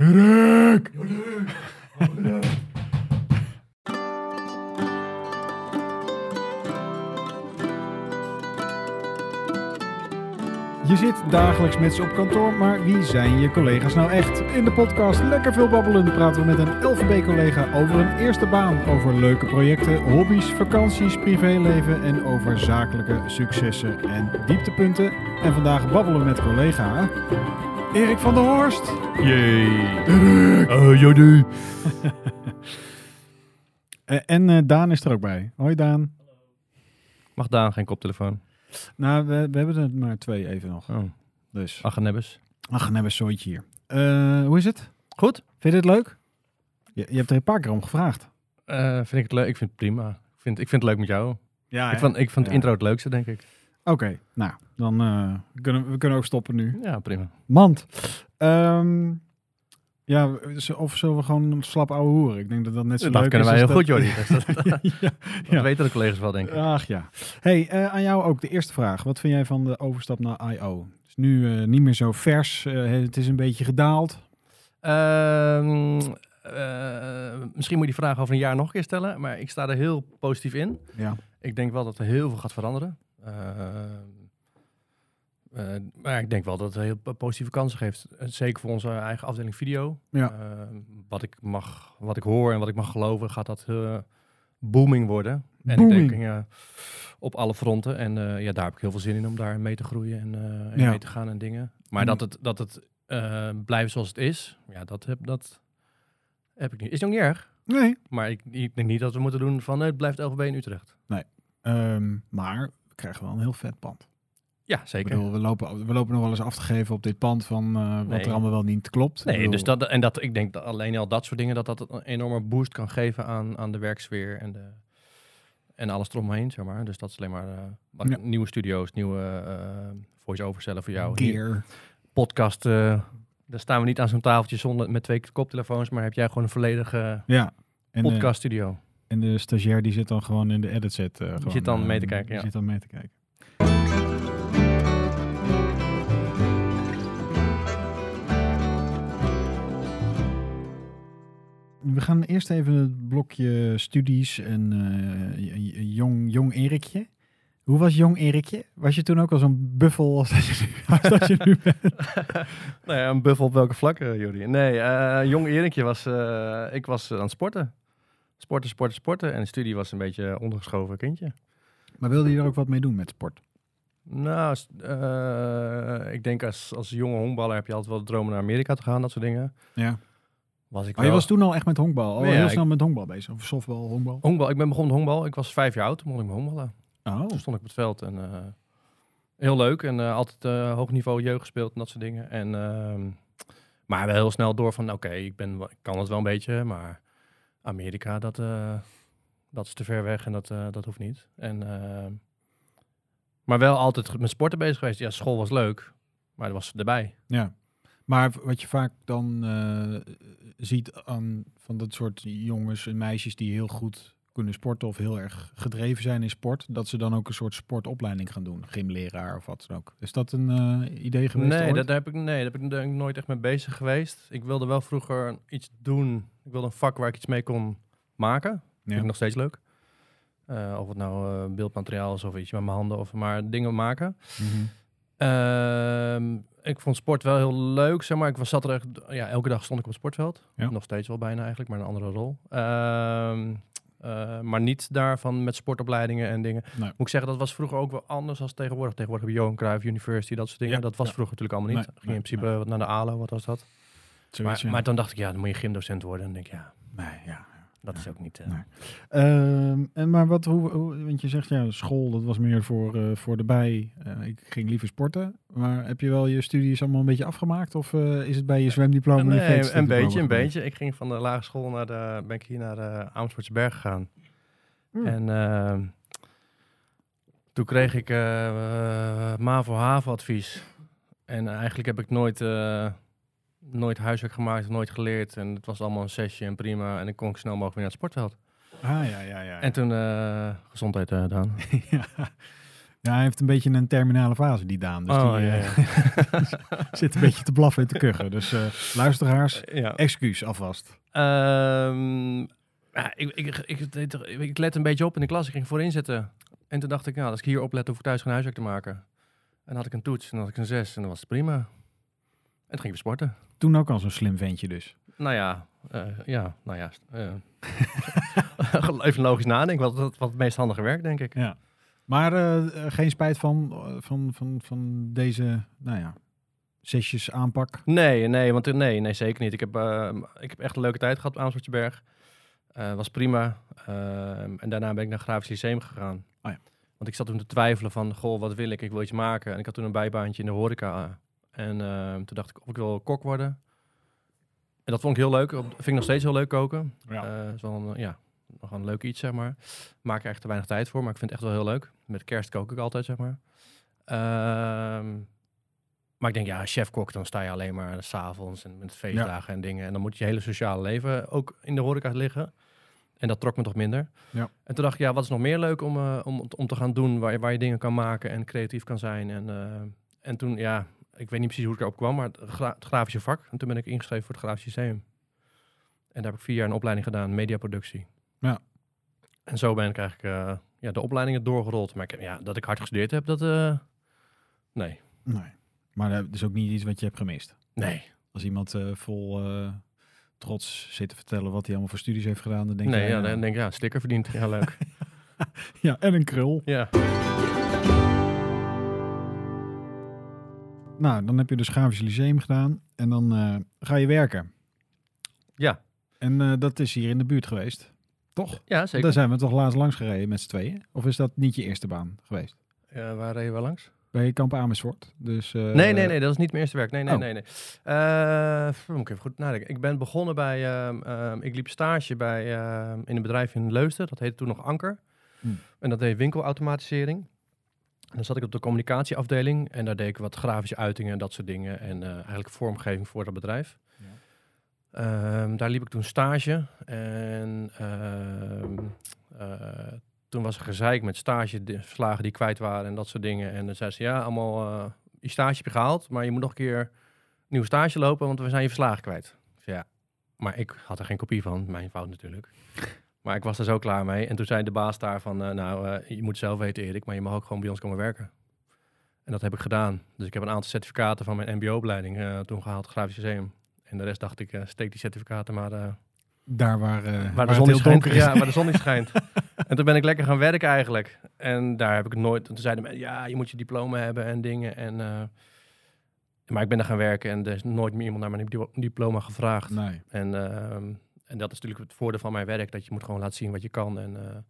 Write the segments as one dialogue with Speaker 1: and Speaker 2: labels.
Speaker 1: Erik! Je zit dagelijks met ze op kantoor, maar wie zijn je collega's nou echt? In de podcast Lekker Veel Babbelen praten we met een LVB-collega over een eerste baan, over leuke projecten, hobby's, vakanties, privéleven en over zakelijke successen en dieptepunten. En vandaag babbelen we met collega Erik van der Horst.
Speaker 2: Jee. Oh, Jody.
Speaker 1: Eh, En eh, Daan is er ook bij. Hoi Daan.
Speaker 2: Mag Daan geen koptelefoon?
Speaker 1: Nou, we, we hebben er maar twee even nog.
Speaker 2: Oh,
Speaker 1: Dus.
Speaker 2: Achenebbes.
Speaker 1: Ach, dan hebben we zooitje hier. Eh, hoe is het?
Speaker 2: Goed.
Speaker 1: Vind je dit leuk? Je, je hebt er een paar keer om gevraagd.
Speaker 2: Eh, vind ik het leuk? Ik vind het prima. Ik vind, ik vind het leuk met jou.
Speaker 1: Ja,
Speaker 2: ik vond, ik vond
Speaker 1: Ah, Ja.
Speaker 2: het intro het leukste, denk ik.
Speaker 1: Oké, nou, dan eh, kunnen we- we kunnen ook stoppen nu.
Speaker 2: Ja, prima.
Speaker 1: Mand. Ehm, ja, z- of zullen we gewoon slap ouwe hoeren? Ik denk dat dat net zo
Speaker 2: Dat
Speaker 1: leuk
Speaker 2: kunnen
Speaker 1: is.
Speaker 2: wij heel
Speaker 1: als
Speaker 2: goed,
Speaker 1: dat-
Speaker 2: Jordi. Dus dat, dat
Speaker 1: ja, Ja.
Speaker 2: weten de collega's wel, denk ik.
Speaker 1: Ach ja. Hey, eh, aan jou ook de eerste vraag. Wat vind jij van de overstap naar I.O.? Het is nu eh, niet meer zo vers. eh, het is een beetje gedaald.
Speaker 2: Ehm, eh, misschien moet je die vraag over een jaar nog een keer stellen, maar ik sta er heel positief in.
Speaker 1: Ja.
Speaker 2: Ik denk wel dat er heel veel gaat veranderen. Ehm, eh, maar ik denk wel dat het heel po- positieve kansen geeft. Eh, Zeker voor onze eigen afdeling video.
Speaker 1: Ja.
Speaker 2: Ehm, wat, ik mag, wat ik hoor en wat ik mag geloven, gaat dat eh, booming worden. En
Speaker 1: Booming.
Speaker 2: ik denk ja, op alle fronten. En eh, ja, daar heb ik heel veel zin in om daar mee te groeien en, eh, en
Speaker 1: Ja.
Speaker 2: mee te gaan en dingen. Maar
Speaker 1: En-
Speaker 2: dat het, dat het eh, blijft zoals het is, ja, dat heb, dat heb ik niet. Is nog niet erg.
Speaker 1: Nee,
Speaker 2: Maar ik, ik denk niet dat we moeten doen van eh, het blijft LVB in Utrecht.
Speaker 1: Ehm, maar we krijgen wel een heel vet pand.
Speaker 2: Ja,
Speaker 1: Ik
Speaker 2: zeker.
Speaker 1: bedoel, we lopen, we lopen nog wel eens af te geven op dit pand van eh, wat
Speaker 2: Nee.
Speaker 1: er allemaal wel niet klopt. Ik
Speaker 2: Nee,
Speaker 1: bedoel,
Speaker 2: dus dat, en dat, ik denk dat alleen al dat soort dingen, dat dat een enorme boost kan geven aan, aan de werksfeer en, de, en alles eromheen, zeg maar. Dus dat is alleen maar eh, wat-
Speaker 1: Ja.
Speaker 2: nieuwe studio's, nieuwe eh, voice-over cellen voor jou. Nieuwe
Speaker 1: Gear.
Speaker 2: Podcast, eh, daar staan we niet aan zo'n tafeltje zonder, met twee koptelefoons, maar heb jij gewoon een volledige
Speaker 1: Ja. En eh, de,
Speaker 2: podcaststudio.
Speaker 1: en de stagiair die zit dan gewoon in de edit set. eh, gewoon,
Speaker 2: zit dan
Speaker 1: eh,
Speaker 2: mee te kijken,
Speaker 1: die
Speaker 2: ja.
Speaker 1: zit dan mee te kijken. We gaan eerst even het blokje studies en eh, j- j- jong, jong Erikje. Hoe was jong Erikje? Was je toen ook al zo'n buffel als dat je nu, als dat je nu bent?
Speaker 2: Nou ja, een buffel op welke vlak, eh, Jordi? Nee, eh, jong Erikje was... eh, ik was eh, aan het sporten. Sporten, sporten, sporten. En de studie was een beetje eh, ondergeschoven kindje.
Speaker 1: Maar wilde je er ook wat mee doen met sport?
Speaker 2: Nou, als- eh, ik denk als, als jonge honkballer heb je altijd wel de dromen naar Amerika te gaan, dat soort dingen.
Speaker 1: Ja.
Speaker 2: Was ik
Speaker 1: Maar Oh, je
Speaker 2: wel-
Speaker 1: was toen al echt met honkbal. Al
Speaker 2: Ja,
Speaker 1: heel
Speaker 2: ik-
Speaker 1: snel met honkbal bezig. Of softbal, honkbal.
Speaker 2: Honkbal, ik ben begonnen met honkbal. Ik was vijf jaar oud, toen begon ik met honkballen.
Speaker 1: Oh,
Speaker 2: Toen stond ik op het veld en eh, heel leuk. En eh, altijd eh, hoog niveau jeugd gespeeld en dat soort dingen. En, ehm, maar wel heel snel door van, oké, ik ben wel- ik kan het wel een beetje, maar Amerika, dat, eh, dat is te ver weg en dat, eh, dat hoeft niet. En, ehm, maar wel altijd met sporten bezig geweest. Ja, school was leuk, maar dat was erbij.
Speaker 1: ja. Maar v- wat je vaak dan eh, ziet aan van dat soort jongens en meisjes die heel goed kunnen sporten of heel erg gedreven zijn in sport, dat ze dan ook een soort sportopleiding gaan doen, gymleraar of wat dan ook. Is dat een eh, idee geweest?
Speaker 2: Nee,
Speaker 1: ooit?
Speaker 2: dat, daar heb ik, nee, daar heb ik denk ik nooit echt mee bezig geweest. Ik wilde wel vroeger iets doen. Ik wilde een vak waar ik iets mee kon maken. Vind ik nog steeds leuk. Eh, of het nou eh, beeldmateriaal is of iets met mijn handen. Of maar dingen maken.
Speaker 1: Mhm.
Speaker 2: Ehm, ik vond sport wel heel leuk, zeg maar. Ik was, zat er echt... Ja, elke dag stond ik op het sportveld.
Speaker 1: Ja.
Speaker 2: Nog steeds wel bijna eigenlijk, maar een andere rol. Ehm, eh, maar niet daarvan met sportopleidingen en dingen.
Speaker 1: Nee.
Speaker 2: Moet ik zeggen, dat was vroeger ook wel anders dan tegenwoordig. Tegenwoordig heb je Johan Cruijff University, dat soort dingen.
Speaker 1: Ja.
Speaker 2: Dat was
Speaker 1: Ja.
Speaker 2: vroeger natuurlijk allemaal niet.
Speaker 1: Nee,
Speaker 2: Ging
Speaker 1: nee,
Speaker 2: in principe eh, naar de ALO, wat was dat? Maar,
Speaker 1: Zoiets, ja.
Speaker 2: maar dan dacht ik, ja, dan moet je gymdocent worden. En dan denk ik, ja,
Speaker 1: Nee, ja.
Speaker 2: dat
Speaker 1: Ja.
Speaker 2: is ook niet... eh,
Speaker 1: Nee. Ehm, en maar wat, hoe, hoe- want je zegt ja, school, dat was meer voor, eh, voor de bij. Eh, ik ging liever sporten. Maar heb je wel je studies allemaal een beetje afgemaakt? Of eh, is het bij je zwemdiploma? en je
Speaker 2: Nee,
Speaker 1: veldstudieдиploma
Speaker 2: een beetje, een
Speaker 1: gebeurd?
Speaker 2: beetje. Ik ging van de lagere school naar de, ben ik hier naar de Amersfoortse Berg gegaan.
Speaker 1: Hmm.
Speaker 2: En ehm, toen kreeg ik eh, eh, MAVO-HAVO-advies. En eigenlijk heb ik nooit, eh, nooit huiswerk gemaakt, nooit geleerd. En het was allemaal een sessie en prima. En ik kon ik snel mogelijk weer naar het sportveld.
Speaker 1: Ah, ja, ja, ja.
Speaker 2: En toen, eh, gezondheid eh Daan.
Speaker 1: ja. Ja, hij heeft een beetje een terminale fase, die Daan. Dus
Speaker 2: Oh,
Speaker 1: die eh, zit een beetje te blaffen en te kuchen. Dus eh, luisteraars,
Speaker 2: ja.
Speaker 1: excuus alvast.
Speaker 2: Ehm, ja, ik, ik, ik, ik, ik let een beetje op in de klas. Ik ging voorin zitten. En toen dacht ik, nou, als ik hier oplet, hoef ik thuis geen huiswerk te maken. En dan had ik een toets en dan had ik een zes en dan was het prima. En toen ging ik sporten.
Speaker 1: Toen ook al zo'n slim ventje dus.
Speaker 2: Nou ja, eh, ja, nou ja. eh. even logisch nadenken, wat, wat, wat het meest handige werk, denk ik.
Speaker 1: Ja. Maar eh, eh, geen spijt van, eh, van, van, van deze, nou ja, zesjes aanpak.
Speaker 2: Nee, nee, want eh, nee, nee, zeker niet. Ik heb, eh, ik heb echt een leuke tijd gehad op Aanspertjeberg. Eh was prima. Ehm, en daarna ben ik naar Grafisch Lyceum gegaan.
Speaker 1: Oh ja.
Speaker 2: Want ik zat toen te twijfelen van, goh, wat wil ik? Ik wil iets maken. En ik had toen een bijbaantje in de horeca. En ehm, toen dacht ik, of ik wil kok worden. En dat vond ik heel leuk. Op- Vind ik nog steeds heel leuk koken.
Speaker 1: Ja.
Speaker 2: Eh, is wel een, eh, ja, nog een leuk iets, zeg maar. Maak er echt te weinig tijd voor, maar ik vind het echt wel heel leuk. Met kerst kook ik altijd, zeg maar. Ehm, maar ik denk, ja, chef-kok, dan sta je alleen maar s'avonds en met feestdagen en dingen. En dan moet je hele sociale leven ook in de horeca liggen. En dat trok me toch minder.
Speaker 1: Ja.
Speaker 2: En toen dacht ik, ja, wat is nog meer leuk om, eh, om, om te gaan doen waar je, waar je dingen kan maken en creatief kan zijn. En, eh, en toen, ja, ik weet niet precies hoe ik erop kwam, maar het, gra- het grafische vak. En toen ben ik ingeschreven voor het grafisch systeem. En daar heb ik vier jaar een opleiding gedaan, mediaproductie.
Speaker 1: Ja.
Speaker 2: En zo ben ik eigenlijk eh, ja, de opleidingen doorgerold. Maar ik, heb- ja, dat ik hard gestudeerd heb, dat... eh, nee,
Speaker 1: Nee. Maar dat is ook niet iets wat je hebt gemist.
Speaker 2: nee,
Speaker 1: Als iemand eh, vol eh, trots zit te vertellen wat hij allemaal voor studies heeft gedaan, dan denk
Speaker 2: nee.
Speaker 1: jij,
Speaker 2: Ja,
Speaker 1: nou,
Speaker 2: dan denk ik, ja, sticker verdiend. Ja, leuk.
Speaker 1: ja, en een krul.
Speaker 2: ja.
Speaker 1: Nou, dan heb je dus grafisch lyceum gedaan en dan eh, ga je werken.
Speaker 2: Ja.
Speaker 1: En eh, dat is hier in de buurt geweest, toch?
Speaker 2: ja,
Speaker 1: Daar
Speaker 2: zeker.
Speaker 1: zijn we toch laatst langs gereden met z'n tweeën? Of is dat niet je eerste baan geweest?
Speaker 2: Eh, waar reden we langs?
Speaker 1: Bij Kamp Amersfoort. Dus, eh,
Speaker 2: nee, nee, nee, dat is niet mijn eerste werk. Nee, nee,
Speaker 1: Oh.
Speaker 2: nee. nee. Eh, pff, moet ik even goed nadenken. Ik ben begonnen bij, ehm, ehm, ik liep stage bij, ehm, in een bedrijf in Leusden. Dat heette toen nog Anker.
Speaker 1: Hmm.
Speaker 2: En dat deed winkelautomatisering. En dan zat ik op de communicatieafdeling en daar deed ik wat grafische uitingen en dat soort dingen. En eh, eigenlijk vormgeving voor dat bedrijf.
Speaker 1: Ja.
Speaker 2: Ehm, daar liep ik toen stage en ehm, eh, toen was er gezeik met stageverslagen die kwijt waren en dat soort dingen. En dan zei ze, ja, allemaal, eh, je stage heb je gehaald, maar je moet nog een keer nieuw stage lopen, want we zijn je verslagen kwijt. Ik zei, ja, maar ik had er geen kopie van, mijn fout natuurlijk. Maar ik was er zo klaar mee. En toen zei de baas daar van, eh, nou, eh, je moet zelf weten Erik, maar je mag ook gewoon bij ons komen werken. En dat heb ik gedaan. Dus ik heb een aantal certificaten van mijn mbo-opleiding eh, toen gehaald, Grafisch Museum. En de rest dacht ik, eh, steek die certificaten maar eh,
Speaker 1: Daar waar, eh,
Speaker 2: waar
Speaker 1: waar
Speaker 2: de
Speaker 1: het
Speaker 2: zon niet
Speaker 1: heel
Speaker 2: schijnt.
Speaker 1: donker is.
Speaker 2: Ja, waar de zon niet schijnt. en toen ben ik lekker gaan werken eigenlijk. En daar heb ik nooit... Toen zeiden mensen, ja, je moet je diploma hebben en dingen. En, eh, maar ik ben daar gaan werken en er is nooit meer iemand naar mijn diplo- diploma gevraagd.
Speaker 1: Nee.
Speaker 2: En, ehm, en dat is natuurlijk het voordeel van mijn werk. Dat je moet gewoon laten zien wat je kan. En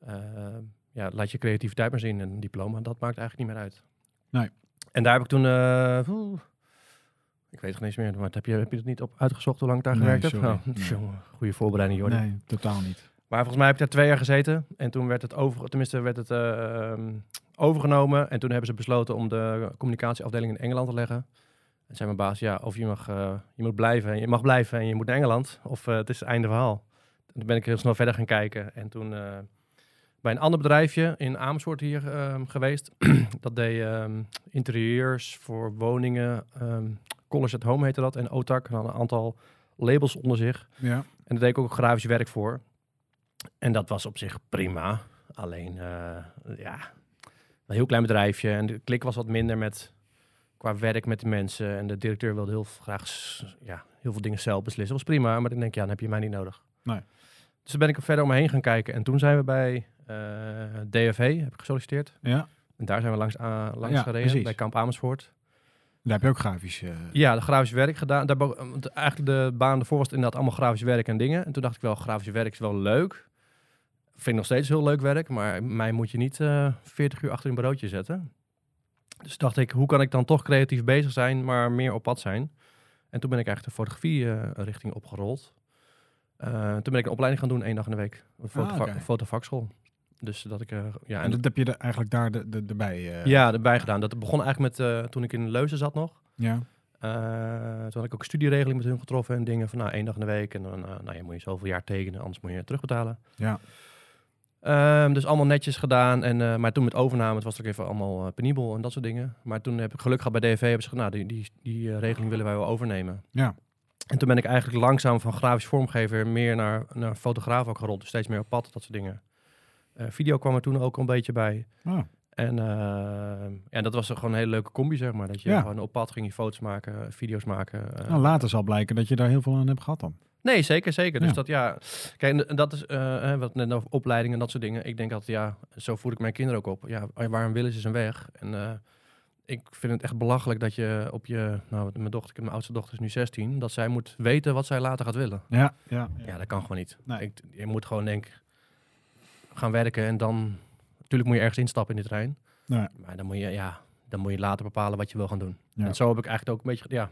Speaker 2: eh, eh, ja, laat je creativiteit maar zien. En een diploma, dat maakt eigenlijk niet meer uit.
Speaker 1: Nee.
Speaker 2: En daar heb ik toen... eh, oeh, ik weet het geen eens meer. Maar het heb je, heb je het niet op uitgezocht hoe lang ik daar
Speaker 1: Nee,
Speaker 2: gewerkt
Speaker 1: sorry.
Speaker 2: heb?
Speaker 1: Nee.
Speaker 2: jongen, goede voorbereiding, Jordi.
Speaker 1: nee, totaal niet.
Speaker 2: Maar volgens mij heb ik daar twee jaar gezeten. En toen werd het, over, tenminste werd het ehm, overgenomen. En toen hebben ze besloten om de communicatieafdeling in Engeland te leggen. En zei mijn baas, ja, of je mag, eh, je moet blijven, en je mag blijven en je moet naar Engeland. Of eh, het is het einde verhaal. En toen ben ik heel snel verder gaan kijken. En toen eh, bij een ander bedrijfje in Amersfoort hier ehm, geweest. dat deed ehm, interieurs voor woningen. ehm College at Home heette dat. En Otak had een aantal labels onder zich.
Speaker 1: Ja.
Speaker 2: En daar deed ik ook grafisch werk voor. En dat was op zich prima. Alleen, eh, ja, een heel klein bedrijfje. En de klik was wat minder met, qua werk met de mensen. En de directeur wilde heel graag s- ja, heel veel dingen zelf beslissen. Dat was prima, maar dan denk ik, ja, dan heb je mij niet nodig.
Speaker 1: Nee.
Speaker 2: Dus toen ben ik er verder om me heen gaan kijken. En toen zijn we bij eh, DFV, heb ik gesolliciteerd.
Speaker 1: ja,
Speaker 2: En daar zijn we langs, aan langs
Speaker 1: Ja,
Speaker 2: gereden,
Speaker 1: precies.
Speaker 2: bij Kamp Amersfoort.
Speaker 1: daar heb je ook grafisch. eh,
Speaker 2: Ja, de grafisch werk gedaan. Daar, bo- want eigenlijk de baan ervoor was het inderdaad allemaal grafisch werk en dingen. En toen dacht ik wel, grafisch werk is wel leuk. Vind ik nog steeds heel leuk werk, maar mij moet je niet eh 40 uur achter een bureautje zetten. Dus dacht ik, hoe kan ik dan toch creatief bezig zijn, maar meer op pad zijn? En toen ben ik eigenlijk de fotografie eh, richting opgerold. Eh, toen ben ik een opleiding gaan doen, één dag in de week. Een fotovac-
Speaker 1: Ah, oké.
Speaker 2: fotovakschool. Dus dat ik... eh, ja,
Speaker 1: en dat heb je er eigenlijk daar de, de, erbij. eh,
Speaker 2: ja, erbij gedaan. Dat begon eigenlijk met eh, toen ik in Leuzen zat nog.
Speaker 1: ja.
Speaker 2: Eh, toen had ik ook een studieregeling met hun getroffen en dingen van nou, één dag in de week. En dan eh, nou, ja, moet je zoveel jaar tekenen, anders moet je het terugbetalen.
Speaker 1: Ja.
Speaker 2: Ehm, dus allemaal netjes gedaan. En, eh, maar toen met overname, het was ook even allemaal eh, penibel en dat soort dingen. Maar toen heb ik geluk gehad bij DNV. Hebben ze gezegd, nou, die, die, die eh, regeling willen wij wel overnemen.
Speaker 1: Ja.
Speaker 2: En toen ben ik eigenlijk langzaam van grafisch vormgever meer naar, naar fotograaf ook gerold. Dus steeds meer op pad, dat soort dingen. Eh, video kwam er toen ook een beetje bij.
Speaker 1: Ah,
Speaker 2: En ehm, ja, dat was gewoon een hele leuke combi, zeg maar. Dat je
Speaker 1: Ja.
Speaker 2: gewoon op pad ging, je foto's maken, video's maken. eh,
Speaker 1: nou, later zal blijken dat je daar heel veel aan hebt gehad dan.
Speaker 2: Nee, zeker, zeker.
Speaker 1: Ja.
Speaker 2: Dus dat ja, kijk, en- en dat is eh, eh, wat net over opleidingen en dat soort dingen. Ik denk altijd, ja, zo voer ik mijn kinderen ook op. Ja, waarom willen ze zijn weg? En eh, ik vind het echt belachelijk dat je op je, nou, wat- mijn dochter, mijn oudste dochter is nu 16, dat zij moet weten wat zij later gaat willen.
Speaker 1: Ja, ja.
Speaker 2: Ja, dat kan gewoon niet.
Speaker 1: Nee.
Speaker 2: Ik, je moet gewoon denk ik, gaan werken en dan, natuurlijk moet je ergens instappen in de trein.
Speaker 1: Nee.
Speaker 2: Maar dan moet je, ja, dan moet je later bepalen wat je wil gaan doen.
Speaker 1: Ja.
Speaker 2: En zo heb ik eigenlijk ook een beetje, ja,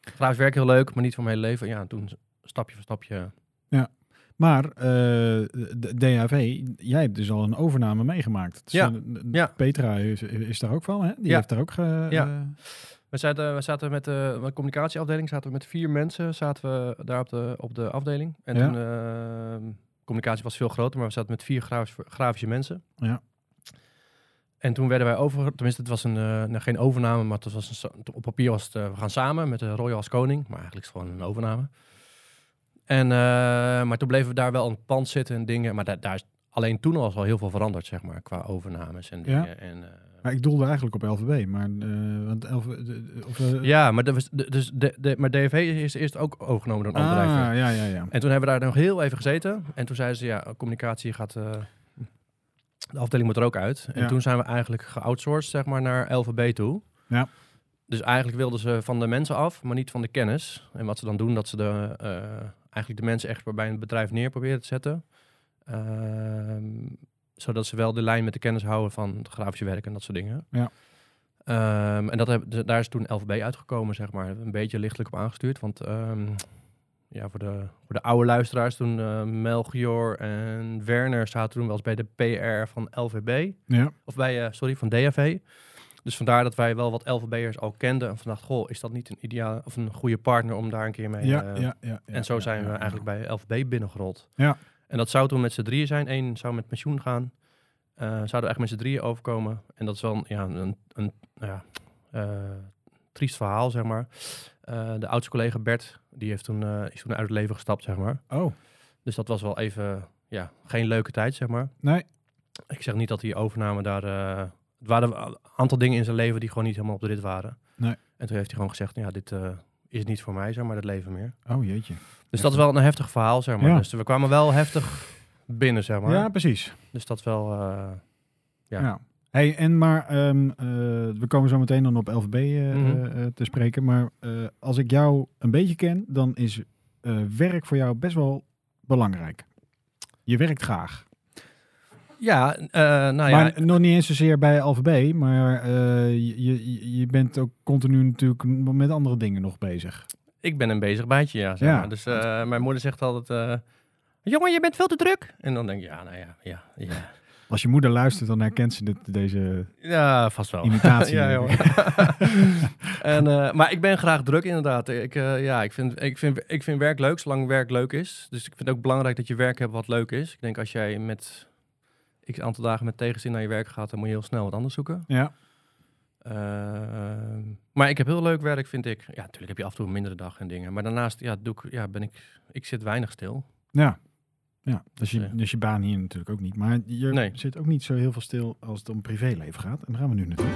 Speaker 2: grafisch werk heel leuk, maar niet voor mijn hele leven. Ja, en toen stapje voor stapje.
Speaker 1: Maar eh, d- DHV, jij hebt dus al een overname meegemaakt. Dus,
Speaker 2: Ja,
Speaker 1: eh, n- n-
Speaker 2: ja.
Speaker 1: Petra is, is daar ook van, hè? Die
Speaker 2: Ja.
Speaker 1: heeft daar ook... Ge,
Speaker 2: Ja.
Speaker 1: eh,
Speaker 2: We zaten, we zaten met de mijn communicatieafdeling, zaten we met vier mensen, zaten we daar op de, op de afdeling. En
Speaker 1: Ja.
Speaker 2: toen, ehm, communicatie was veel groter, maar we zaten met vier grafis- grafische mensen.
Speaker 1: Ja.
Speaker 2: En toen werden wij over, tenminste het was een, eh, nou, geen overname, maar het was een, sa- op papier was het, eh, we gaan samen met de Royal als koning, maar eigenlijk is het gewoon een overname. En, eh, maar toen bleven we daar wel aan het pand zitten en dingen, maar daar daar is alleen toen al wel heel veel veranderd, zeg maar, qua overnames en
Speaker 1: Ja.
Speaker 2: dingen. En, eh,
Speaker 1: maar ik doelde eigenlijk op LVB, maar... eh, want LV, de- of, eh,
Speaker 2: Ja, maar, dat was, de- dus de, de, maar DFV is eerst ook overgenomen door een ander bedrijf.
Speaker 1: ah, ja, ja, ja.
Speaker 2: En toen hebben we daar nog heel even gezeten. En toen zeiden ze, ja, communicatie gaat... eh, de afdeling moet er ook uit. En
Speaker 1: Ja.
Speaker 2: toen zijn we eigenlijk geoutsourced, zeg maar, naar LVB toe.
Speaker 1: Ja.
Speaker 2: Dus eigenlijk wilden ze van de mensen af, maar niet van de kennis. En wat ze dan doen, dat ze de, eh, eigenlijk de mensen echt bij een bedrijf neer proberen te zetten. Ehm, zodat ze wel de lijn met de kennis houden van het grafische werk en dat soort dingen.
Speaker 1: Ja.
Speaker 2: Ehm, en dat heb, d- daar is toen LVB uitgekomen, zeg maar. Een beetje lichtelijk op aangestuurd, want ehm, ja, voor, de, voor de oude luisteraars, toen eh, Melchior en Werner zaten toen wel eens bij de PR van LVB.
Speaker 1: ja.
Speaker 2: Of bij, eh, sorry, van DAV. Dus vandaar dat wij wel wat LVB'ers al kenden. En van dacht, goh, is dat niet een ideale of een goede partner om daar een keer mee...
Speaker 1: Ja,
Speaker 2: eh,
Speaker 1: ja, ja, ja,
Speaker 2: en zo
Speaker 1: ja,
Speaker 2: zijn we
Speaker 1: ja,
Speaker 2: eigenlijk bij LVB binnengerold.
Speaker 1: Ja.
Speaker 2: En dat zou toen met z'n drieën zijn. Eén zou met pensioen gaan. Eh, zouden we echt met z'n drieën overkomen. En dat is wel een, ja, een, een nou ja, eh, triest verhaal, zeg maar. Eh, de oudste collega Bert, die heeft toen, eh, is toen uit het leven gestapt, zeg maar.
Speaker 1: ja. Oh,
Speaker 2: Dus dat was wel even, ja, geen leuke tijd, zeg maar.
Speaker 1: nee.
Speaker 2: Ik zeg niet dat die overname daar... eh, het waren een aantal dingen in zijn leven die gewoon niet helemaal op de rit waren.
Speaker 1: Nee.
Speaker 2: En toen heeft hij gewoon gezegd, ja, dit eh, is niet voor mij, zeg maar, dat leven meer.
Speaker 1: Oh, jeetje.
Speaker 2: Dus dat is wel een heftig verhaal, zeg maar.
Speaker 1: Ja.
Speaker 2: Dus we kwamen wel heftig binnen, zeg maar.
Speaker 1: Ja, precies.
Speaker 2: Dus dat is wel... eh,
Speaker 1: Ja.
Speaker 2: Ja.
Speaker 1: Hey, en maar, ehm, eh, we komen zo meteen dan op LVB eh,
Speaker 2: Mhm.
Speaker 1: eh, te spreken. Maar eh, als ik jou een beetje ken, dan is eh, werk voor jou best wel belangrijk. Je werkt graag.
Speaker 2: ja, eh, nou ja...
Speaker 1: maar nog niet eens zozeer bij LVB, maar eh, je, je, je bent ook continu natuurlijk met andere dingen nog bezig.
Speaker 2: Ik ben een bezig bijtje, ja. Zeg
Speaker 1: Ja.
Speaker 2: Maar. Dus eh, mijn moeder zegt altijd... eh, Jongen, je bent veel te druk. En dan denk ik, ja, nou ja, ja, ja.
Speaker 1: Als je moeder luistert, dan herkent ze dit, deze
Speaker 2: Ja, vast wel.
Speaker 1: imitatie.
Speaker 2: Oh. Ja,
Speaker 1: denk ik.
Speaker 2: joh. en, eh, maar ik ben graag druk, inderdaad. Ik, eh, ja, ik, vind, ik, vind, ik vind werk leuk, zolang werk leuk is. Dus ik vind het ook belangrijk dat je werk hebt wat leuk is. Ik denk als jij met x aantal dagen met tegenzin naar je werk gaat, dan moet je heel snel wat anders zoeken.
Speaker 1: ja.
Speaker 2: Ehm, maar ik heb heel leuk werk, vind ik. Ja, natuurlijk heb je af en toe een mindere dag en dingen. Maar daarnaast ja, doe ik, ja, ben ik, ik zit weinig stil.
Speaker 1: Ja. Ja, dus je,
Speaker 2: eh.
Speaker 1: dus je baan hier natuurlijk ook niet. Maar je
Speaker 2: Nee.
Speaker 1: zit ook niet zo heel veel stil als het om privéleven gaat. En daar gaan we nu naartoe.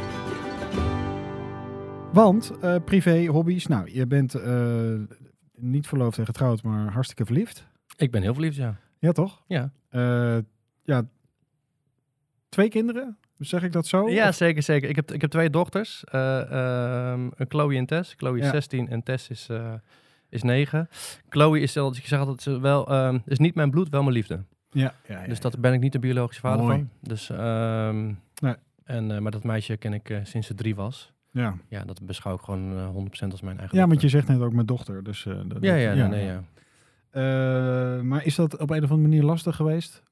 Speaker 1: Want eh, privé, hobby's. Nou, je bent eh, niet verloofd en getrouwd, maar hartstikke verliefd.
Speaker 2: Ik ben heel verliefd, ja.
Speaker 1: Ja, toch?
Speaker 2: Ja,
Speaker 1: Eh, ja, twee kinderen, zeg ik dat zo?
Speaker 2: ja
Speaker 1: Of-
Speaker 2: zeker, zeker. Ik heb, ik heb twee dochters. eh, ehm, Chloe en Tess. Chloe is
Speaker 1: Ja.
Speaker 2: 16 en Tess is, eh, is 9. Chloe is, zelfs- ik zeg altijd, ze wel, ehm, is niet mijn bloed, wel mijn liefde.
Speaker 1: ja. ja, ja,
Speaker 2: Dus daar ben ik niet de biologische vader
Speaker 1: Mooi.
Speaker 2: van. Dus, ehm,
Speaker 1: Nee.
Speaker 2: en, eh, maar dat meisje ken ik eh, sinds ze drie was.
Speaker 1: ja.
Speaker 2: Ja, dat beschouw ik gewoon eh, 100% als mijn eigen
Speaker 1: ja, want
Speaker 2: dochter.
Speaker 1: je zegt net ook mijn dochter. Dus, eh, dat-
Speaker 2: Ja,
Speaker 1: dat-
Speaker 2: ja, nee, nee, ja.
Speaker 1: Eh, maar is dat op een of andere manier lastig geweest?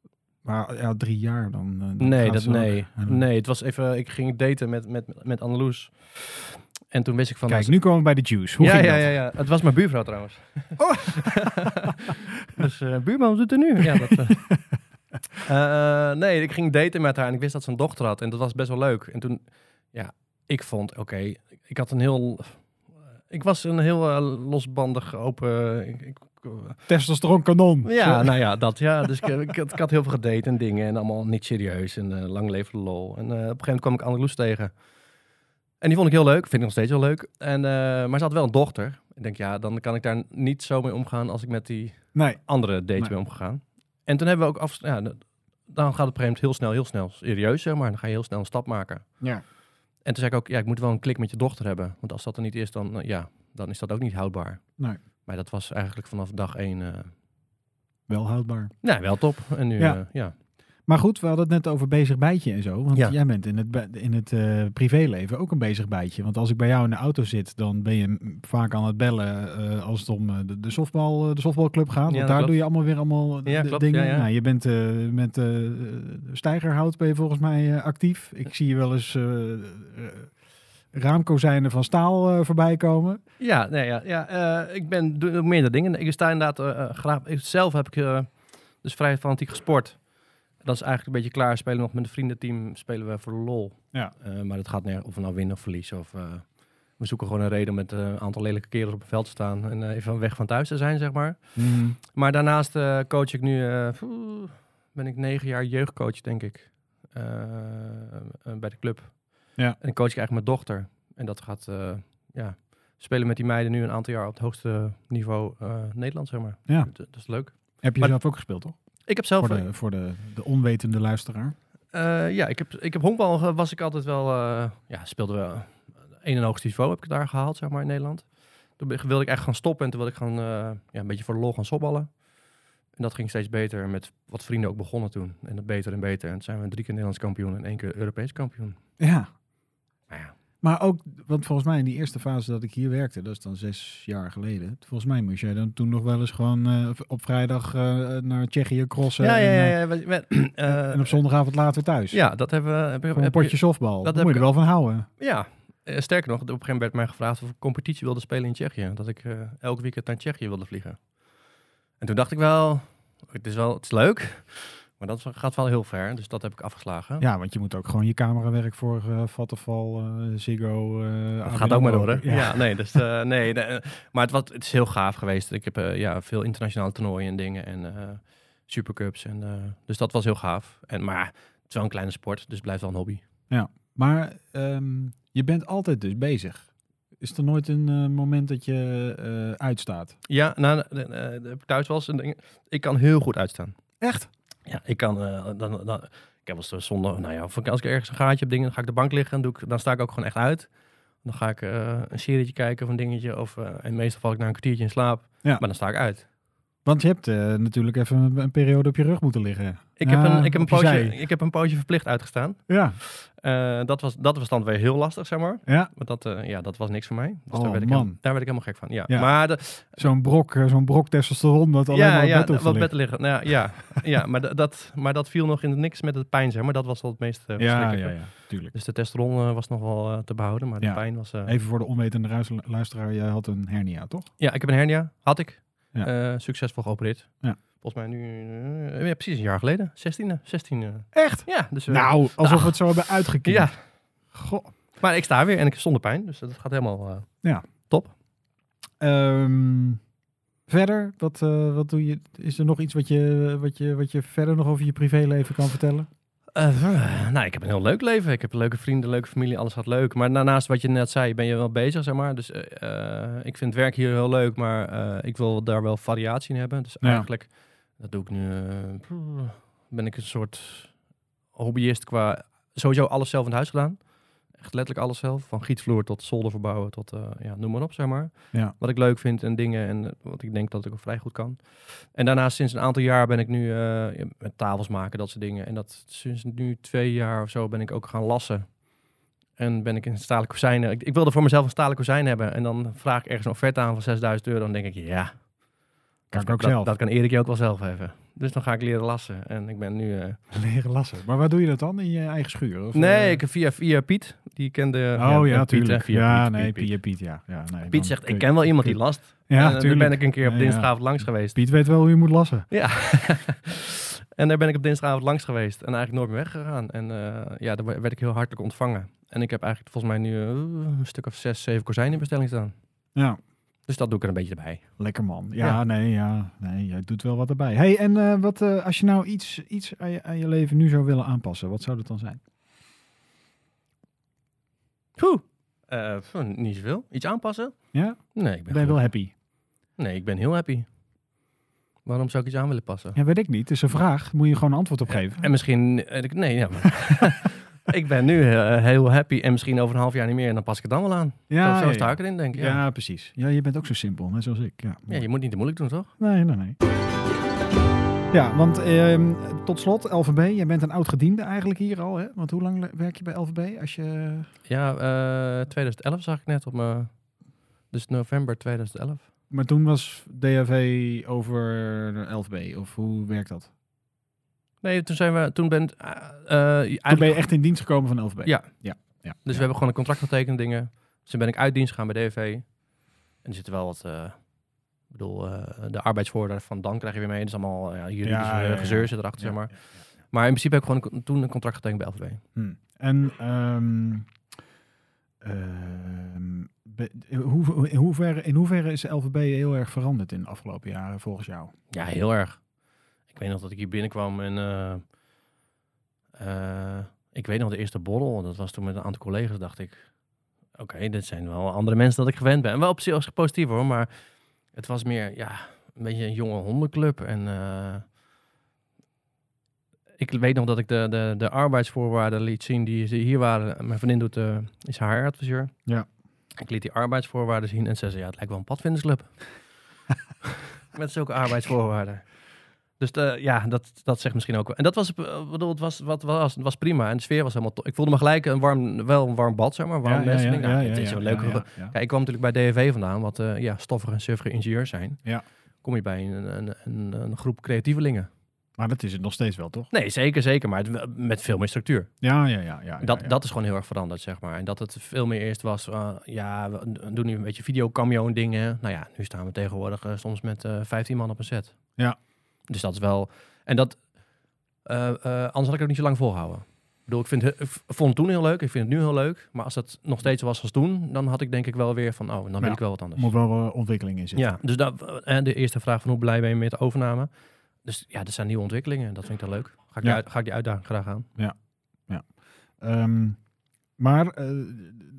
Speaker 1: Maar ja, drie jaar dan. eh, dan
Speaker 2: Nee,
Speaker 1: gaat
Speaker 2: dat,
Speaker 1: ze ook-
Speaker 2: nee.
Speaker 1: Ja.
Speaker 2: nee, het was even, ik ging daten met, met, met Anneloes. En toen wist ik van...
Speaker 1: Kijk, nu komen we bij de juice. Hoe
Speaker 2: ja,
Speaker 1: ging
Speaker 2: ja,
Speaker 1: dat?
Speaker 2: ja, ja, het was mijn buurvrouw trouwens.
Speaker 1: Oh.
Speaker 2: dus eh buurman, wat doet er nu? Ja, dat, eh. Eh, nee, ik ging daten met haar en ik wist dat ze een dochter had. En dat was best wel leuk. En toen, ja, ik vond, oké, ik had een heel... Ik was een heel eh, losbandig, open... ik- ik-
Speaker 1: Testosteron kanon.
Speaker 2: ja, nou ja, dat ja. Dus ik, ik, had- ik had heel veel gedate en dingen en allemaal niet serieus en eh, lang leven de lol. En eh, op een gegeven moment kwam ik Anneloes tegen. En die vond ik heel leuk, vind ik nog steeds heel leuk. En, eh, maar ze had wel een dochter. Ik denk, ja, dan kan ik daar niet zo mee omgaan als ik met die
Speaker 1: Nee,
Speaker 2: andere date
Speaker 1: Nee.
Speaker 2: ben omgegaan. En toen hebben we ook af... Ja, de- dan gaat het op een gegeven moment heel snel, heel snel serieus, zeg maar. Dan ga je heel snel een stap maken.
Speaker 1: ja.
Speaker 2: En toen zei ik ook, ja, ik moet wel een klik met je dochter hebben. Want als dat er niet is, dan, eh, ja, dan is dat ook niet houdbaar.
Speaker 1: Nee.
Speaker 2: Maar dat was eigenlijk vanaf dag één... eh,
Speaker 1: wel houdbaar.
Speaker 2: nou, wel top. En nu,
Speaker 1: Ja.
Speaker 2: ja. ja.
Speaker 1: Maar goed, we hadden het net over bezig bijtje en zo. Want
Speaker 2: Ja.
Speaker 1: jij bent in het, be- in het eh, privéleven ook een bezig bijtje. Want als ik bij jou in de auto zit, dan ben je m- vaak aan het bellen eh, als het om eh, de, de, softbal, eh, de softbalclub gaat. Want
Speaker 2: Ja,
Speaker 1: daar
Speaker 2: dat
Speaker 1: doe
Speaker 2: klopt.
Speaker 1: je allemaal weer allemaal
Speaker 2: Ja,
Speaker 1: de-
Speaker 2: klopt,
Speaker 1: dingen.
Speaker 2: ja, ja.
Speaker 1: Nou, je bent eh, met eh Steigerhout ben je volgens mij eh, actief. Ik zie je wel eens eh, eh, raamkozijnen van staal eh, voorbij komen.
Speaker 2: Ja, nee, ja, ja eh, ik ben doe meerdere dingen. Ik sta inderdaad eh, eh, graag. ik- zelf heb ik eh, dus vrij fanatiek gesport. Dat is eigenlijk een beetje klaar. Spelen we nog met een vriendenteam. Spelen we voor de lol.
Speaker 1: Ja.
Speaker 2: Eh, maar dat gaat nergens of we nou winnen of verliezen. Of, eh, we zoeken gewoon een reden om met eh, een aantal lelijke kerels op het veld te staan. En eh, even weg van thuis te zijn, zeg maar. Maar daarnaast eh, coach ik nu. eh, pff, ben ik negen jaar jeugdcoach, denk ik. eh, eh, bij de club.
Speaker 1: Ja.
Speaker 2: En coach ik eigenlijk mijn dochter. En dat gaat. eh, ja, spelen met die meiden nu een aantal jaar op het hoogste niveau eh, Nederland, zeg maar.
Speaker 1: Ja.
Speaker 2: Dat, dat is leuk.
Speaker 1: Heb je
Speaker 2: Maar-
Speaker 1: zelf ook gespeeld, toch?
Speaker 2: Ik heb zelf.
Speaker 1: Voor de, voor de, de onwetende luisteraar.
Speaker 2: eh, ja, ik heb, ik heb honkbal ge- was ik altijd wel. eh, ja, speelde wel. Een en hoogste niveau heb ik daar gehaald, zeg maar, in Nederland. Toen ben- wilde ik echt gaan stoppen en toen wilde ik gaan, eh, ja, een beetje voor de lol gaan softballen. En dat ging steeds beter met wat vrienden ook begonnen toen. En dat beter en beter. En toen zijn we drie keer Nederlands kampioen en één keer Europees kampioen.
Speaker 1: Ja,
Speaker 2: Nou ja,
Speaker 1: Maar ook, want volgens mij in die eerste fase dat ik hier werkte, dat is dan zes jaar geleden. Volgens mij moest jij dan toen nog wel eens gewoon eh, op vrijdag eh, naar Tsjechië crossen.
Speaker 2: ja, ja,
Speaker 1: en,
Speaker 2: ja.
Speaker 1: eh,
Speaker 2: ja, we- we- eh,
Speaker 1: en op zondagavond later thuis.
Speaker 2: Ja, dat hebben we. Heb, je-
Speaker 1: Voor een
Speaker 2: heb
Speaker 1: potje
Speaker 2: je-
Speaker 1: softbal. Daar
Speaker 2: dat
Speaker 1: moet
Speaker 2: heb
Speaker 1: je er
Speaker 2: ik-
Speaker 1: wel van houden.
Speaker 2: ja, Eh, sterker nog, op een gegeven moment werd mij gevraagd of ik competitie wilde spelen in Tsjechië. Dat ik eh, elk weekend naar Tsjechië wilde vliegen. En toen dacht ik wel, het is wel, het is leuk, maar dat gaat wel heel ver. Dus dat heb ik afgeslagen.
Speaker 1: Ja, want je moet ook gewoon je camerawerk voor eh Vattenfall, eh, Ziggo. eh,
Speaker 2: Dat
Speaker 1: ABN
Speaker 2: gaat ook maar door, hè?
Speaker 1: Ja.
Speaker 2: Ja, nee. Dus, eh, nee nee, eh, maar het, was, het is heel gaaf geweest. Ik heb eh, ja, veel internationale toernooien en dingen en eh supercups. En, eh, dus dat was heel gaaf. En, maar het is wel een kleine sport, dus het blijft wel een hobby.
Speaker 1: Maar ehm, je bent altijd dus bezig. Is er nooit een eh, moment dat je eh, uitstaat?
Speaker 2: Ja, nou, eh, eh, eh, heb ik thuis wel eens een ding. Ik kan heel goed uitstaan.
Speaker 1: Echt?
Speaker 2: Ja, ik kan. eh, dan, dan, ik heb wel eens eh, zondag, nou ja, of ik- als ik ergens een gaatje heb, dingen, dan ga ik op de bank liggen en doe ik, dan sta ik ook gewoon echt uit. Dan ga ik eh, een serietje kijken of een dingetje. Of, eh, en meestal val ik na een kwartiertje in slaap.
Speaker 1: Ja.
Speaker 2: Maar dan sta ik uit.
Speaker 1: Want je hebt eh, natuurlijk even een, een periode op je rug moeten liggen.
Speaker 2: Ik heb,
Speaker 1: Ah,
Speaker 2: een, ik, heb een
Speaker 1: op je
Speaker 2: pootje,
Speaker 1: zij.
Speaker 2: ik heb een pootje verplicht uitgestaan.
Speaker 1: Ja,
Speaker 2: Eh, dat, was, dat was dan weer heel lastig, zeg maar.
Speaker 1: ja.
Speaker 2: Want dat, eh, ja, dat was niks voor mij. Dus
Speaker 1: Oh,
Speaker 2: daar, werd ik
Speaker 1: man.
Speaker 2: helemaal- daar werd ik helemaal gek van. Ja.
Speaker 1: Ja.
Speaker 2: Maar de,
Speaker 1: Zo'n brok, eh, zo'n brok testosteron dat alleen maar op bed hoeft te
Speaker 2: wat
Speaker 1: liggen.
Speaker 2: bed liggen. Nou, ja, ja, ja maar, da- dat, maar dat viel nog in het niks met het pijn, zeg maar. Dat was al het meest eh,
Speaker 1: ja, ja,
Speaker 2: verschrikkelijke.
Speaker 1: ja, tuurlijk.
Speaker 2: Dus de testosteron eh, was nog wel eh, te behouden, maar
Speaker 1: Ja.
Speaker 2: de pijn was... eh,
Speaker 1: Even voor de onwetende ruis- luisteraar, jij had een hernia, toch?
Speaker 2: Ja, ik heb een hernia, had ik.
Speaker 1: Ja.
Speaker 2: Eh, succesvol geopereerd.
Speaker 1: Ja.
Speaker 2: Volgens mij nu... eh, ja, precies een jaar geleden. 16e. 16
Speaker 1: Echt?
Speaker 2: ja, dus... eh,
Speaker 1: Nou, alsof we het zo hebben uitgekiend.
Speaker 2: Ja,
Speaker 1: Goh.
Speaker 2: maar ik sta weer en ik zonder pijn, dus dat gaat helemaal... eh,
Speaker 1: Ehm, verder, wat, eh, wat doe je? Is er nog iets wat je, wat, je, wat je verder nog over je privéleven kan vertellen?
Speaker 2: Eh, nou, ik heb een heel leuk leven. Ik heb leuke vrienden, leuke familie, alles gaat leuk. Maar daarnaast wat je net zei, ben je wel bezig, zeg maar. Dus eh, eh, ik vind het werk hier heel leuk, maar eh, ik wil daar wel variatie in hebben. Dus
Speaker 1: Ja.
Speaker 2: eigenlijk, dat doe ik nu, eh, ben ik een soort hobbyist qua sowieso alles zelf in het huis gedaan. Echt letterlijk alles zelf, van gietvloer tot zolder verbouwen, tot eh, ja, noem maar op, zeg maar.
Speaker 1: Ja.
Speaker 2: Wat ik leuk vind en dingen en eh, wat ik denk dat ik ook vrij goed kan. En daarnaast sinds een aantal jaar ben ik nu eh, ja, met tafels maken, dat soort dingen. En dat sinds nu twee jaar of zo ben ik ook gaan lassen. En ben ik in stalen kozijnen. Ik, ik wilde voor mezelf een stalen kozijn hebben. En dan vraag ik ergens een offerte aan van 6000 euro. Dan denk ik, ja,
Speaker 1: Kan
Speaker 2: dat-
Speaker 1: ik ook
Speaker 2: dat,
Speaker 1: zelf.
Speaker 2: Dat kan Erik je ook wel zelf hebben. Dus dan ga ik leren lassen. En ik ben nu... eh,
Speaker 1: Leren lassen. Maar waar doe je dat dan? In je eigen schuur? Of, eh,
Speaker 2: nee, ik, via, via Piet. Die kende...
Speaker 1: Oh ja,
Speaker 2: Piet,
Speaker 1: tuurlijk.
Speaker 2: hè, via
Speaker 1: ja,
Speaker 2: Piet,
Speaker 1: nee,
Speaker 2: Piet,
Speaker 1: Piet,
Speaker 2: Piet.
Speaker 1: Piet, ja. ja nee,
Speaker 2: Piet
Speaker 1: dan
Speaker 2: zegt,
Speaker 1: kun
Speaker 2: ik
Speaker 1: je-
Speaker 2: ken wel iemand die last.
Speaker 1: Ja,
Speaker 2: en, eh,
Speaker 1: tuurlijk.
Speaker 2: Toen ben ik een keer op
Speaker 1: Nee, ja.
Speaker 2: dinsdagavond langs geweest.
Speaker 1: Piet weet wel hoe je moet lassen.
Speaker 2: Ja. En daar ben ik op dinsdagavond langs geweest en eigenlijk nooit meer weggegaan. En eh, ja, daar werd ik heel hartelijk ontvangen. En ik heb eigenlijk volgens mij nu eh, een stuk of zes, zeven kozijnen in bestelling staan.
Speaker 1: Ja,
Speaker 2: Dus dat doe ik er een beetje bij.
Speaker 1: lekker man. Ja,
Speaker 2: Ja.
Speaker 1: nee, ja, nee, jij doet wel wat erbij. hey, en eh, wat, eh, als je nou iets, iets aan, je, aan je leven nu zou willen aanpassen, wat zou dat dan zijn?
Speaker 2: Goed. Eh, niet zoveel. Iets aanpassen?
Speaker 1: Ja?
Speaker 2: Nee, ik
Speaker 1: Ben
Speaker 2: ben,
Speaker 1: je
Speaker 2: goed.
Speaker 1: wel happy?
Speaker 2: Nee, ik ben heel happy. Waarom zou ik iets aan willen passen?
Speaker 1: Ja, weet ik niet. Het is een vraag. Moet je gewoon een antwoord op geven.
Speaker 2: En misschien... eh, ik- Nee, ja, maar- ik ben nu eh, heel happy en misschien over een half jaar niet meer. En dan pas ik het dan wel aan.
Speaker 1: Ja,
Speaker 2: zo zo
Speaker 1: ja,
Speaker 2: sta
Speaker 1: ja.
Speaker 2: ik erin, denk ik. Ja.
Speaker 1: Ja, precies. Ja, je bent ook zo simpel, net zoals ik. Ja,
Speaker 2: Ja, je moet niet te moeilijk doen, toch?
Speaker 1: Nee, nee, nee. Ja, want ehm, tot slot, LVB, jij bent een oud gediende eigenlijk hier al, hè? Want hoe lang le- werk je bij LVB? Als je...
Speaker 2: Ja, eh, 2011 zag ik net op mijn... Dus november 2011.
Speaker 1: Maar toen was DHV over de LVB, of hoe werkt dat?
Speaker 2: Nee, toen zijn we... Toen ben, eh, eh,
Speaker 1: Toen ben je
Speaker 2: eigenlijk-
Speaker 1: echt in dienst gekomen van LVB?
Speaker 2: Ja.
Speaker 1: ja, ja
Speaker 2: Dus we hebben gewoon een contract getekend dingen. Dus toen ben ik uit dienst gegaan bij DV. En er zitten wel wat... eh, ik bedoel, eh, de arbeidsvoorwaarden van dan krijg je weer mee. Dat is allemaal ja, juridisch
Speaker 1: Ja,
Speaker 2: eh,
Speaker 1: ja, ja.
Speaker 2: gezeur zit erachter, zeg maar.
Speaker 1: Ja, ja, ja.
Speaker 2: Maar in principe heb ik gewoon een- toen een contract getekend bij LVB.
Speaker 1: Hm. En ehm, ehm, be- hoe, in, hoeverre, in hoeverre is LVB heel erg veranderd in de afgelopen jaren volgens jou?
Speaker 2: Ja, heel erg. Ik weet nog dat ik hier binnenkwam en... eh, eh, ik weet nog de eerste borrel. Dat was toen met een aantal collega's, dacht ik. Oké, dit zijn wel andere mensen dat ik gewend ben. En wel op zich was ik positief hoor, maar... Het was meer, ja, een beetje een jonge hondenclub. En eh, ik weet nog dat ik de, de, de arbeidsvoorwaarden liet zien die ze hier waren. Mijn vriendin doet, eh, is haar adviseur.
Speaker 1: Ja.
Speaker 2: Ik liet die arbeidsvoorwaarden zien en zei ze, ja, het lijkt wel een padvindersclub. Met zulke arbeidsvoorwaarden. Dus eh, ja, dat, dat zegt misschien ook wel. En dat was, eh, bedoel, het was, wat was, het was prima. En de sfeer was helemaal top. Ik voelde me gelijk een warm, wel een warm bad, zeg maar. Warm mensen. Ik denk, nou, dit is een leuke
Speaker 1: ja, ja.
Speaker 2: Kijk, ik kwam natuurlijk bij DHV vandaan, wat eh, ja, stoffige en suffige ingenieurs zijn.
Speaker 1: Ja.
Speaker 2: Kom je bij een, een, een, een groep creatievelingen?
Speaker 1: Maar dat is het nog steeds wel, toch?
Speaker 2: Nee, zeker, zeker, maar het wel- met veel meer structuur.
Speaker 1: Ja, ja, ja. ja, ja,
Speaker 2: Dat,
Speaker 1: ja.
Speaker 2: dat is gewoon heel erg veranderd, zeg maar. En dat het veel meer eerst was, eh, ja, we doen nu een beetje videocameo en dingen. Nou ja, nu staan we tegenwoordig eh, soms met eh 15 man op een set.
Speaker 1: Ja.
Speaker 2: Dus dat is wel... En dat... eh, eh, anders had ik het ook niet zo lang volhouden. Ik bedoel, ik, vind, het- ik vond het toen heel leuk, ik vind het nu heel leuk. Maar als dat nog steeds zo was als toen, dan had ik denk ik wel weer van... Oh, dan wil
Speaker 1: Ja.
Speaker 2: ik wel wat anders.
Speaker 1: moet wel wel ontwikkeling in zitten.
Speaker 2: Ja, dus dat, en de eerste vraag van hoe blij ben je met de overname? Dus ja, er zijn nieuwe ontwikkelingen. Dat vind ik dan leuk. Ga
Speaker 1: Ja.
Speaker 2: ik, die, uit- ga ik die uitdaging graag aan.
Speaker 1: Ehm, maar eh,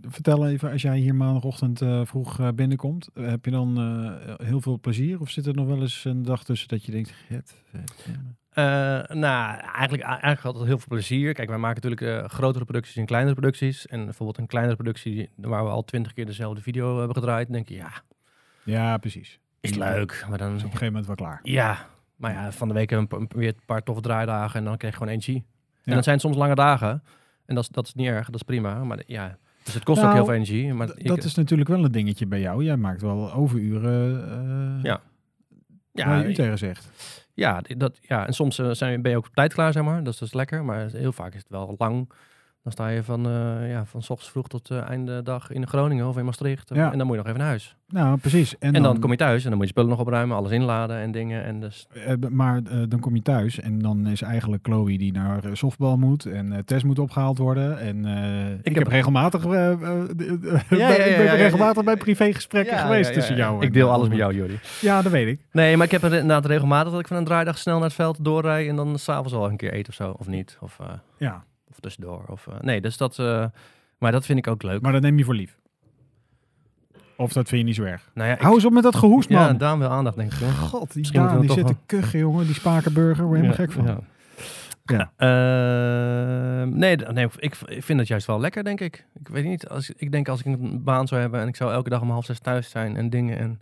Speaker 1: vertel even, als jij hier maandagochtend eh, vroeg eh, binnenkomt, eh, heb je dan eh, heel veel plezier? Of zit er nog wel eens een dag tussen dat je denkt, het, het, eh,
Speaker 2: Eh, nou, eigenlijk, eigenlijk altijd heel veel plezier. Kijk, wij maken natuurlijk eh, grotere producties en kleinere producties. En bijvoorbeeld een kleinere productie waar we al twintig keer dezelfde video hebben gedraaid. Dan denk je, ja,
Speaker 1: Ja, precies.
Speaker 2: is leuk. Maar
Speaker 1: Is op
Speaker 2: dan,
Speaker 1: een gegeven moment wel klaar.
Speaker 2: ja, maar ja, van de week hebben we een pa- weer een paar toffe draaidagen. En dan krijg je gewoon energie.
Speaker 1: Ja.
Speaker 2: En dat zijn soms lange dagen. En dat is, dat is niet erg, dat is prima. Maar ja, dus het kost
Speaker 1: Nou,
Speaker 2: ook heel veel energie. Maar
Speaker 1: D-
Speaker 2: ik- eh,
Speaker 1: dat is natuurlijk wel een dingetje bij jou. Jij maakt wel overuren eh ja,
Speaker 2: Ja, ja,
Speaker 1: waar je u tegen zegt.
Speaker 2: Ja, d- dat, ja, en soms eh, zijn, ben je ook op tijd klaar, zeg maar. Dat is dus lekker. Maar heel vaak is het wel lang. Dan sta je van, eh ja, van s ochtends vroeg tot eh einde dag in Groningen of in Maastricht.
Speaker 1: Ja.
Speaker 2: En dan moet je nog even naar huis.
Speaker 1: Nou, precies. En,
Speaker 2: En, dan, kom je thuis en dan moet je spullen nog opruimen, alles inladen en dingen. En dus,
Speaker 1: Eh, b- maar eh, dan kom je thuis en dan is eigenlijk Chloe die naar eh, softbal moet en eh Tess moet opgehaald worden. En eh, ik, heb
Speaker 2: heb-
Speaker 1: regelmatig, eh, eh, d- d-
Speaker 2: ja,
Speaker 1: bij- ik
Speaker 2: ja,
Speaker 1: ben
Speaker 2: ja, ja.
Speaker 1: regelmatig bij privégesprekken geweest tussen jou en eh,
Speaker 2: Ik deel alles met jou, Jordi.
Speaker 1: Ja, dat weet ik.
Speaker 2: Nee, maar ik heb er inderdaad regelmatig dat ik van een draaidag snel naar het veld doorrij. En dan s'avonds al een keer eten of zo. Of niet. Of, eh,
Speaker 1: Ja,
Speaker 2: of tussendoor. Of, eh, nee, dus dat... eh, maar dat vind ik ook leuk.
Speaker 1: maar dat neem je voor lief. Of dat vind je niet zo erg.
Speaker 2: nou ja, ik-
Speaker 1: Hou eens op met dat gehoest, man.
Speaker 2: ja, Daan wil aandacht, denk ik. hoor.
Speaker 1: God, die
Speaker 2: Misschien
Speaker 1: Daan, die
Speaker 2: moeten we
Speaker 1: zit te
Speaker 2: hem toch
Speaker 1: kuchen, jongen. Die Spakenburger, word je helemaal gek van.
Speaker 2: Ja.
Speaker 1: Ja.
Speaker 2: Ehm, nee, d- nee ik, ik vind dat juist wel lekker, denk ik. Ik weet niet, als, ik denk als ik een baan zou hebben en ik zou elke dag om half zes thuis zijn en dingen en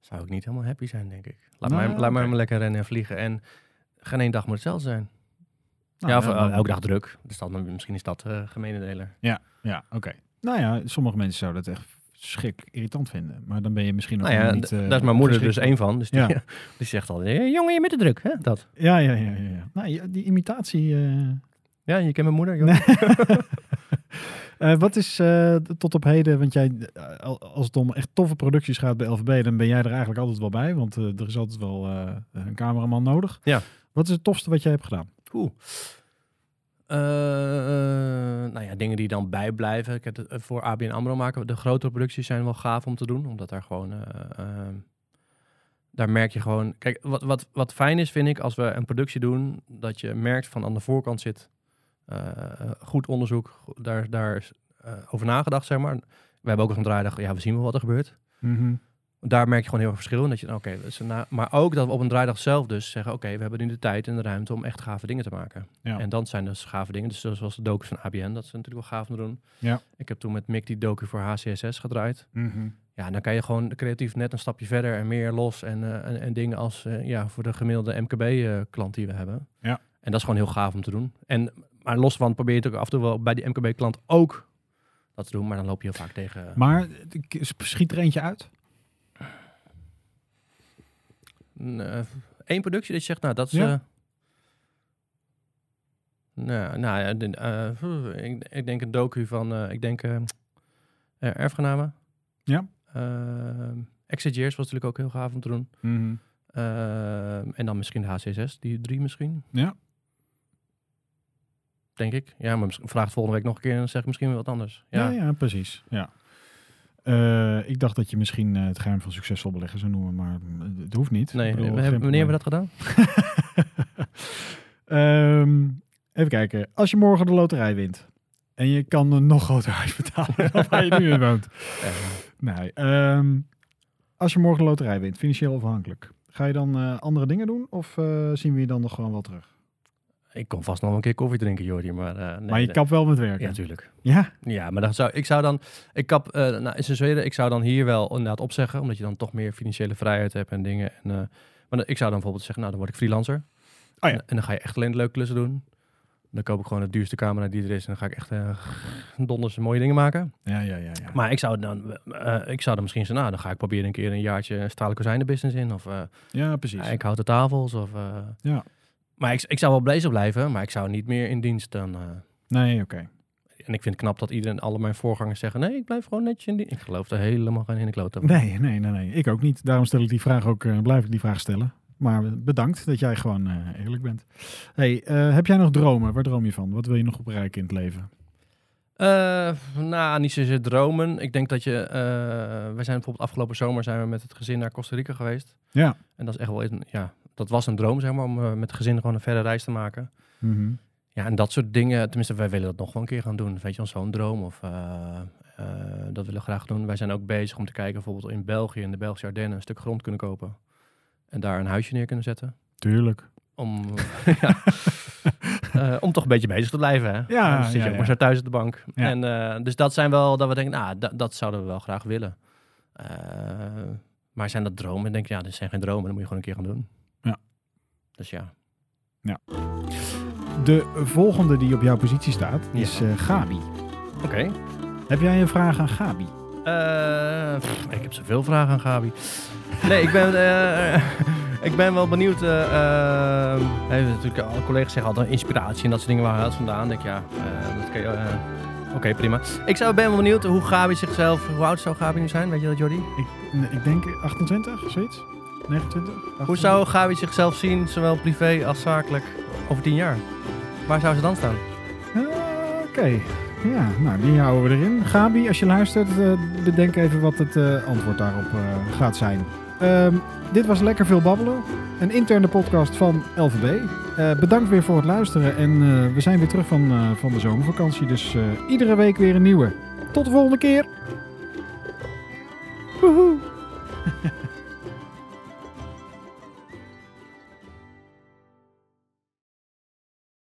Speaker 2: zou ik niet helemaal happy zijn, denk ik. Laat,
Speaker 1: Nou,
Speaker 2: mij,
Speaker 1: ja,
Speaker 2: laat mij
Speaker 1: oké.
Speaker 2: maar lekker rennen en vliegen en geen één dag moet hetzelfde zijn.
Speaker 1: Nou,
Speaker 2: ja, of,
Speaker 1: dan-
Speaker 2: eh, elke dag druk. Dus dan, misschien is dat eh gemene deler.
Speaker 1: Ja, oké. Nou ja, sommige mensen zouden dat echt schrik irritant vinden. Maar dan ben je misschien nog
Speaker 2: Nou ja,
Speaker 1: helemaal
Speaker 2: d-
Speaker 1: niet... eh,
Speaker 2: daar is mijn moeder dus
Speaker 1: geschikt
Speaker 2: één van. Dus die,
Speaker 1: Ja.
Speaker 2: die zegt al, "Eh, jongen, je bent te druk, hè? Dat.
Speaker 1: voor. Ja, ja, ja. ja, ja. Nou, ja, die imitatie... eh,
Speaker 2: Ja, je kent mijn moeder, joh.
Speaker 1: Eh, wat is eh, tot op heden, want jij, eh, al- als het om echt toffe producties gaat bij LVB, dan ben jij er eigenlijk altijd wel bij, want eh, er is altijd wel eh, een cameraman nodig.
Speaker 2: Ja.
Speaker 1: Wat is het tofste wat jij hebt gedaan?
Speaker 2: Oeh. Eh, nou ja, dingen die dan bijblijven. Ik heb het, eh, voor ABN AMRO maken we- de grotere producties zijn wel gaaf om te doen. Omdat daar gewoon... eh, eh, daar merk je gewoon... Kijk, wat, wat, wat fijn is vind ik als we een productie doen... dat je merkt van aan de voorkant zit eh, goed onderzoek. go- Daar, daar is eh, over nagedacht, zeg maar. We hebben ook eens een draaidag... Ja, we zien wel wat er gebeurt. Mhm, daar merk je gewoon heel erg verschil in. Dat je, dan, oké, dat is een na- maar ook dat we op een draaidag zelf dus zeggen, oké, we hebben nu de tijd en de ruimte om echt gave dingen te maken.
Speaker 1: Ja.
Speaker 2: En dan zijn dus gave dingen, dus zoals de docus van ABN, dat is natuurlijk wel gaaf om te doen.
Speaker 1: Ja.
Speaker 2: Ik heb toen met Mick die docu voor HCSS gedraaid. Ja, en dan kan je gewoon creatief net een stapje verder en meer los en, eh, en, en dingen als eh, ja, voor de gemiddelde MKB-klant eh, die we hebben.
Speaker 1: Ja.
Speaker 2: En dat is gewoon heel gaaf om te doen. En, maar los van probeer je het ook af en toe wel bij die MKB-klant ook dat te doen, maar dan loop je heel vaak tegen...
Speaker 1: Maar ik- schiet er eentje uit?
Speaker 2: Eén eh, productie dat je zegt, nou, dat is...
Speaker 1: Ja.
Speaker 2: eh, nou, nou ja, de- eh, ik, ik denk een docu van, eh, ik denk eh, eh, erfgenamen.
Speaker 1: Ja.
Speaker 2: Ehm, Exit Years was natuurlijk ook heel gaaf om te doen. Ehm, en dan misschien de HCSS, die drie misschien.
Speaker 1: Ja.
Speaker 2: Denk ik. Ja, maar misschien- vraag het volgende week nog een keer en dan zeg ik misschien weer wat anders.
Speaker 1: Ja,
Speaker 2: Ja,
Speaker 1: ja, precies. Ja. Eh, ik dacht dat je misschien eh, het geheim van succesvol beleggen zou noemen, maar mm, het hoeft niet.
Speaker 2: Nee,
Speaker 1: Ik bedoel,
Speaker 2: we hebben-
Speaker 1: geen
Speaker 2: wanneer hebben
Speaker 1: probleem.
Speaker 2: we dat gedaan?
Speaker 1: Ehm, even kijken. Als je morgen de loterij wint en je kan een nog groter huis betalen dan waar je nu in woont. Nee. ehm, als je morgen de loterij wint, financieel afhankelijk, ga je dan eh, andere dingen doen of eh, zien we je dan nog gewoon wel terug?
Speaker 2: Eh, ik kom vast nog wel een keer koffie drinken, Jordi, maar... eh, nee,
Speaker 1: maar je
Speaker 2: dat-
Speaker 1: kap wel met werken.
Speaker 2: Ja,
Speaker 1: Ja.
Speaker 2: natuurlijk. Ja, maar dan zou, ik zou dan, ik kap, eh, nou, in zijn Zweden, ik zou dan hier wel inderdaad opzeggen, omdat je dan toch meer financiële vrijheid hebt en dingen. En, eh, maar dan- ik zou dan bijvoorbeeld zeggen, nou, dan word ik freelancer.
Speaker 1: Oh ja.
Speaker 2: en, en dan ga je echt alleen leuke klussen doen. Dan koop ik gewoon de duurste camera die er is en dan ga ik echt eh donders mooie dingen maken.
Speaker 1: Ja, ja, ja. ja.
Speaker 2: Maar ik zou dan, eh, eh, ik zou dan misschien zeggen, nou, dan ga ik proberen een keer een jaartje stalen kozijnen business in. Of eh,
Speaker 1: ja, precies.
Speaker 2: ik houd de tafels. Of, eh,
Speaker 1: Ja.
Speaker 2: Maar ik, ik zou wel bezig blijven, maar ik zou niet meer in dienst dan... eh,
Speaker 1: Nee, oké.
Speaker 2: en ik vind het knap dat iedereen, alle mijn voorgangers zeggen... nee, ik blijf gewoon netjes in die... Ik geloof er helemaal geen in de klote van.
Speaker 1: Nee, nee, nee, nee. Ik ook niet. Daarom stel ik die vraag ook, eh, blijf ik die vraag stellen. Maar bedankt dat jij gewoon eh, eerlijk bent. Hey, eh, heb jij nog dromen? Waar droom je van? Wat wil je nog op bereiken in het leven?
Speaker 2: Eh, nou, niet zozeer dromen. Ik denk dat je... eh wij zijn bijvoorbeeld afgelopen zomer zijn we met het gezin naar Costa Rica geweest.
Speaker 1: Ja.
Speaker 2: En dat is echt wel... een- Ja, dat was een droom, zeg maar, om eh, met het gezin gewoon een verre reis te maken.
Speaker 1: Mhm.
Speaker 2: Ja, en dat soort dingen... Tenminste, wij willen dat nog wel een keer gaan doen. Weet je, ons zo'n droom of... eh, eh, dat willen we graag doen. Wij zijn ook bezig om te kijken, bijvoorbeeld in België, in de Belgische Ardennen, een stuk grond kunnen kopen. En daar een huisje neer kunnen zetten.
Speaker 1: Tuurlijk.
Speaker 2: om, ja, eh, om toch een beetje bezig te blijven. Hè? Eh,
Speaker 1: Ja,
Speaker 2: Dan zit
Speaker 1: ja,
Speaker 2: je ook
Speaker 1: ja.
Speaker 2: maar zo thuis op de bank.
Speaker 1: Ja.
Speaker 2: En, eh, dus dat zijn wel dat we denken, nou, da- dat zouden we wel graag willen. Eh, maar zijn dat dromen? Ik denk, ja, dit zijn geen dromen. Dat moet je gewoon een keer gaan doen.
Speaker 1: Ja.
Speaker 2: Dus ja.
Speaker 1: De volgende die op jouw positie staat is
Speaker 2: Ja.
Speaker 1: eh, Gabi.
Speaker 2: Oké.
Speaker 1: Heb jij een vraag aan Gabi?
Speaker 2: Eh, pff, ik heb zoveel vragen aan Gabi. Nee, ik ben, eh, ik ben wel benieuwd. eh eh, hè, natuurlijk, alle collega's zeggen altijd inspiratie en dat soort dingen waar het vandaan. Ik denk, ja, eh, dat kan je, eh, Oké, prima. Ik zou, ben wel benieuwd hoe Gabi zichzelf... Hoe oud zou Gabi nu zijn? Weet je dat, Jordi?
Speaker 1: Ik, nee, ik denk 28, zoiets? 29?
Speaker 2: Hoe
Speaker 1: 28?
Speaker 2: zou Gabi zichzelf zien, zowel privé als zakelijk, over tien jaar? Waar zou ze dan staan?
Speaker 1: Ah, Oké. Ja, nou, die houden we erin. Gabi, als je luistert, eh, bedenk even wat het eh, antwoord daarop eh, gaat zijn. Ehm, dit was Lekker Veel Babbelen, een interne podcast van LVB. Eh, bedankt weer voor het luisteren en eh, we zijn weer terug van, eh, van de zomervakantie. Dus eh, iedere week weer een nieuwe. Tot de volgende keer! Woehoe!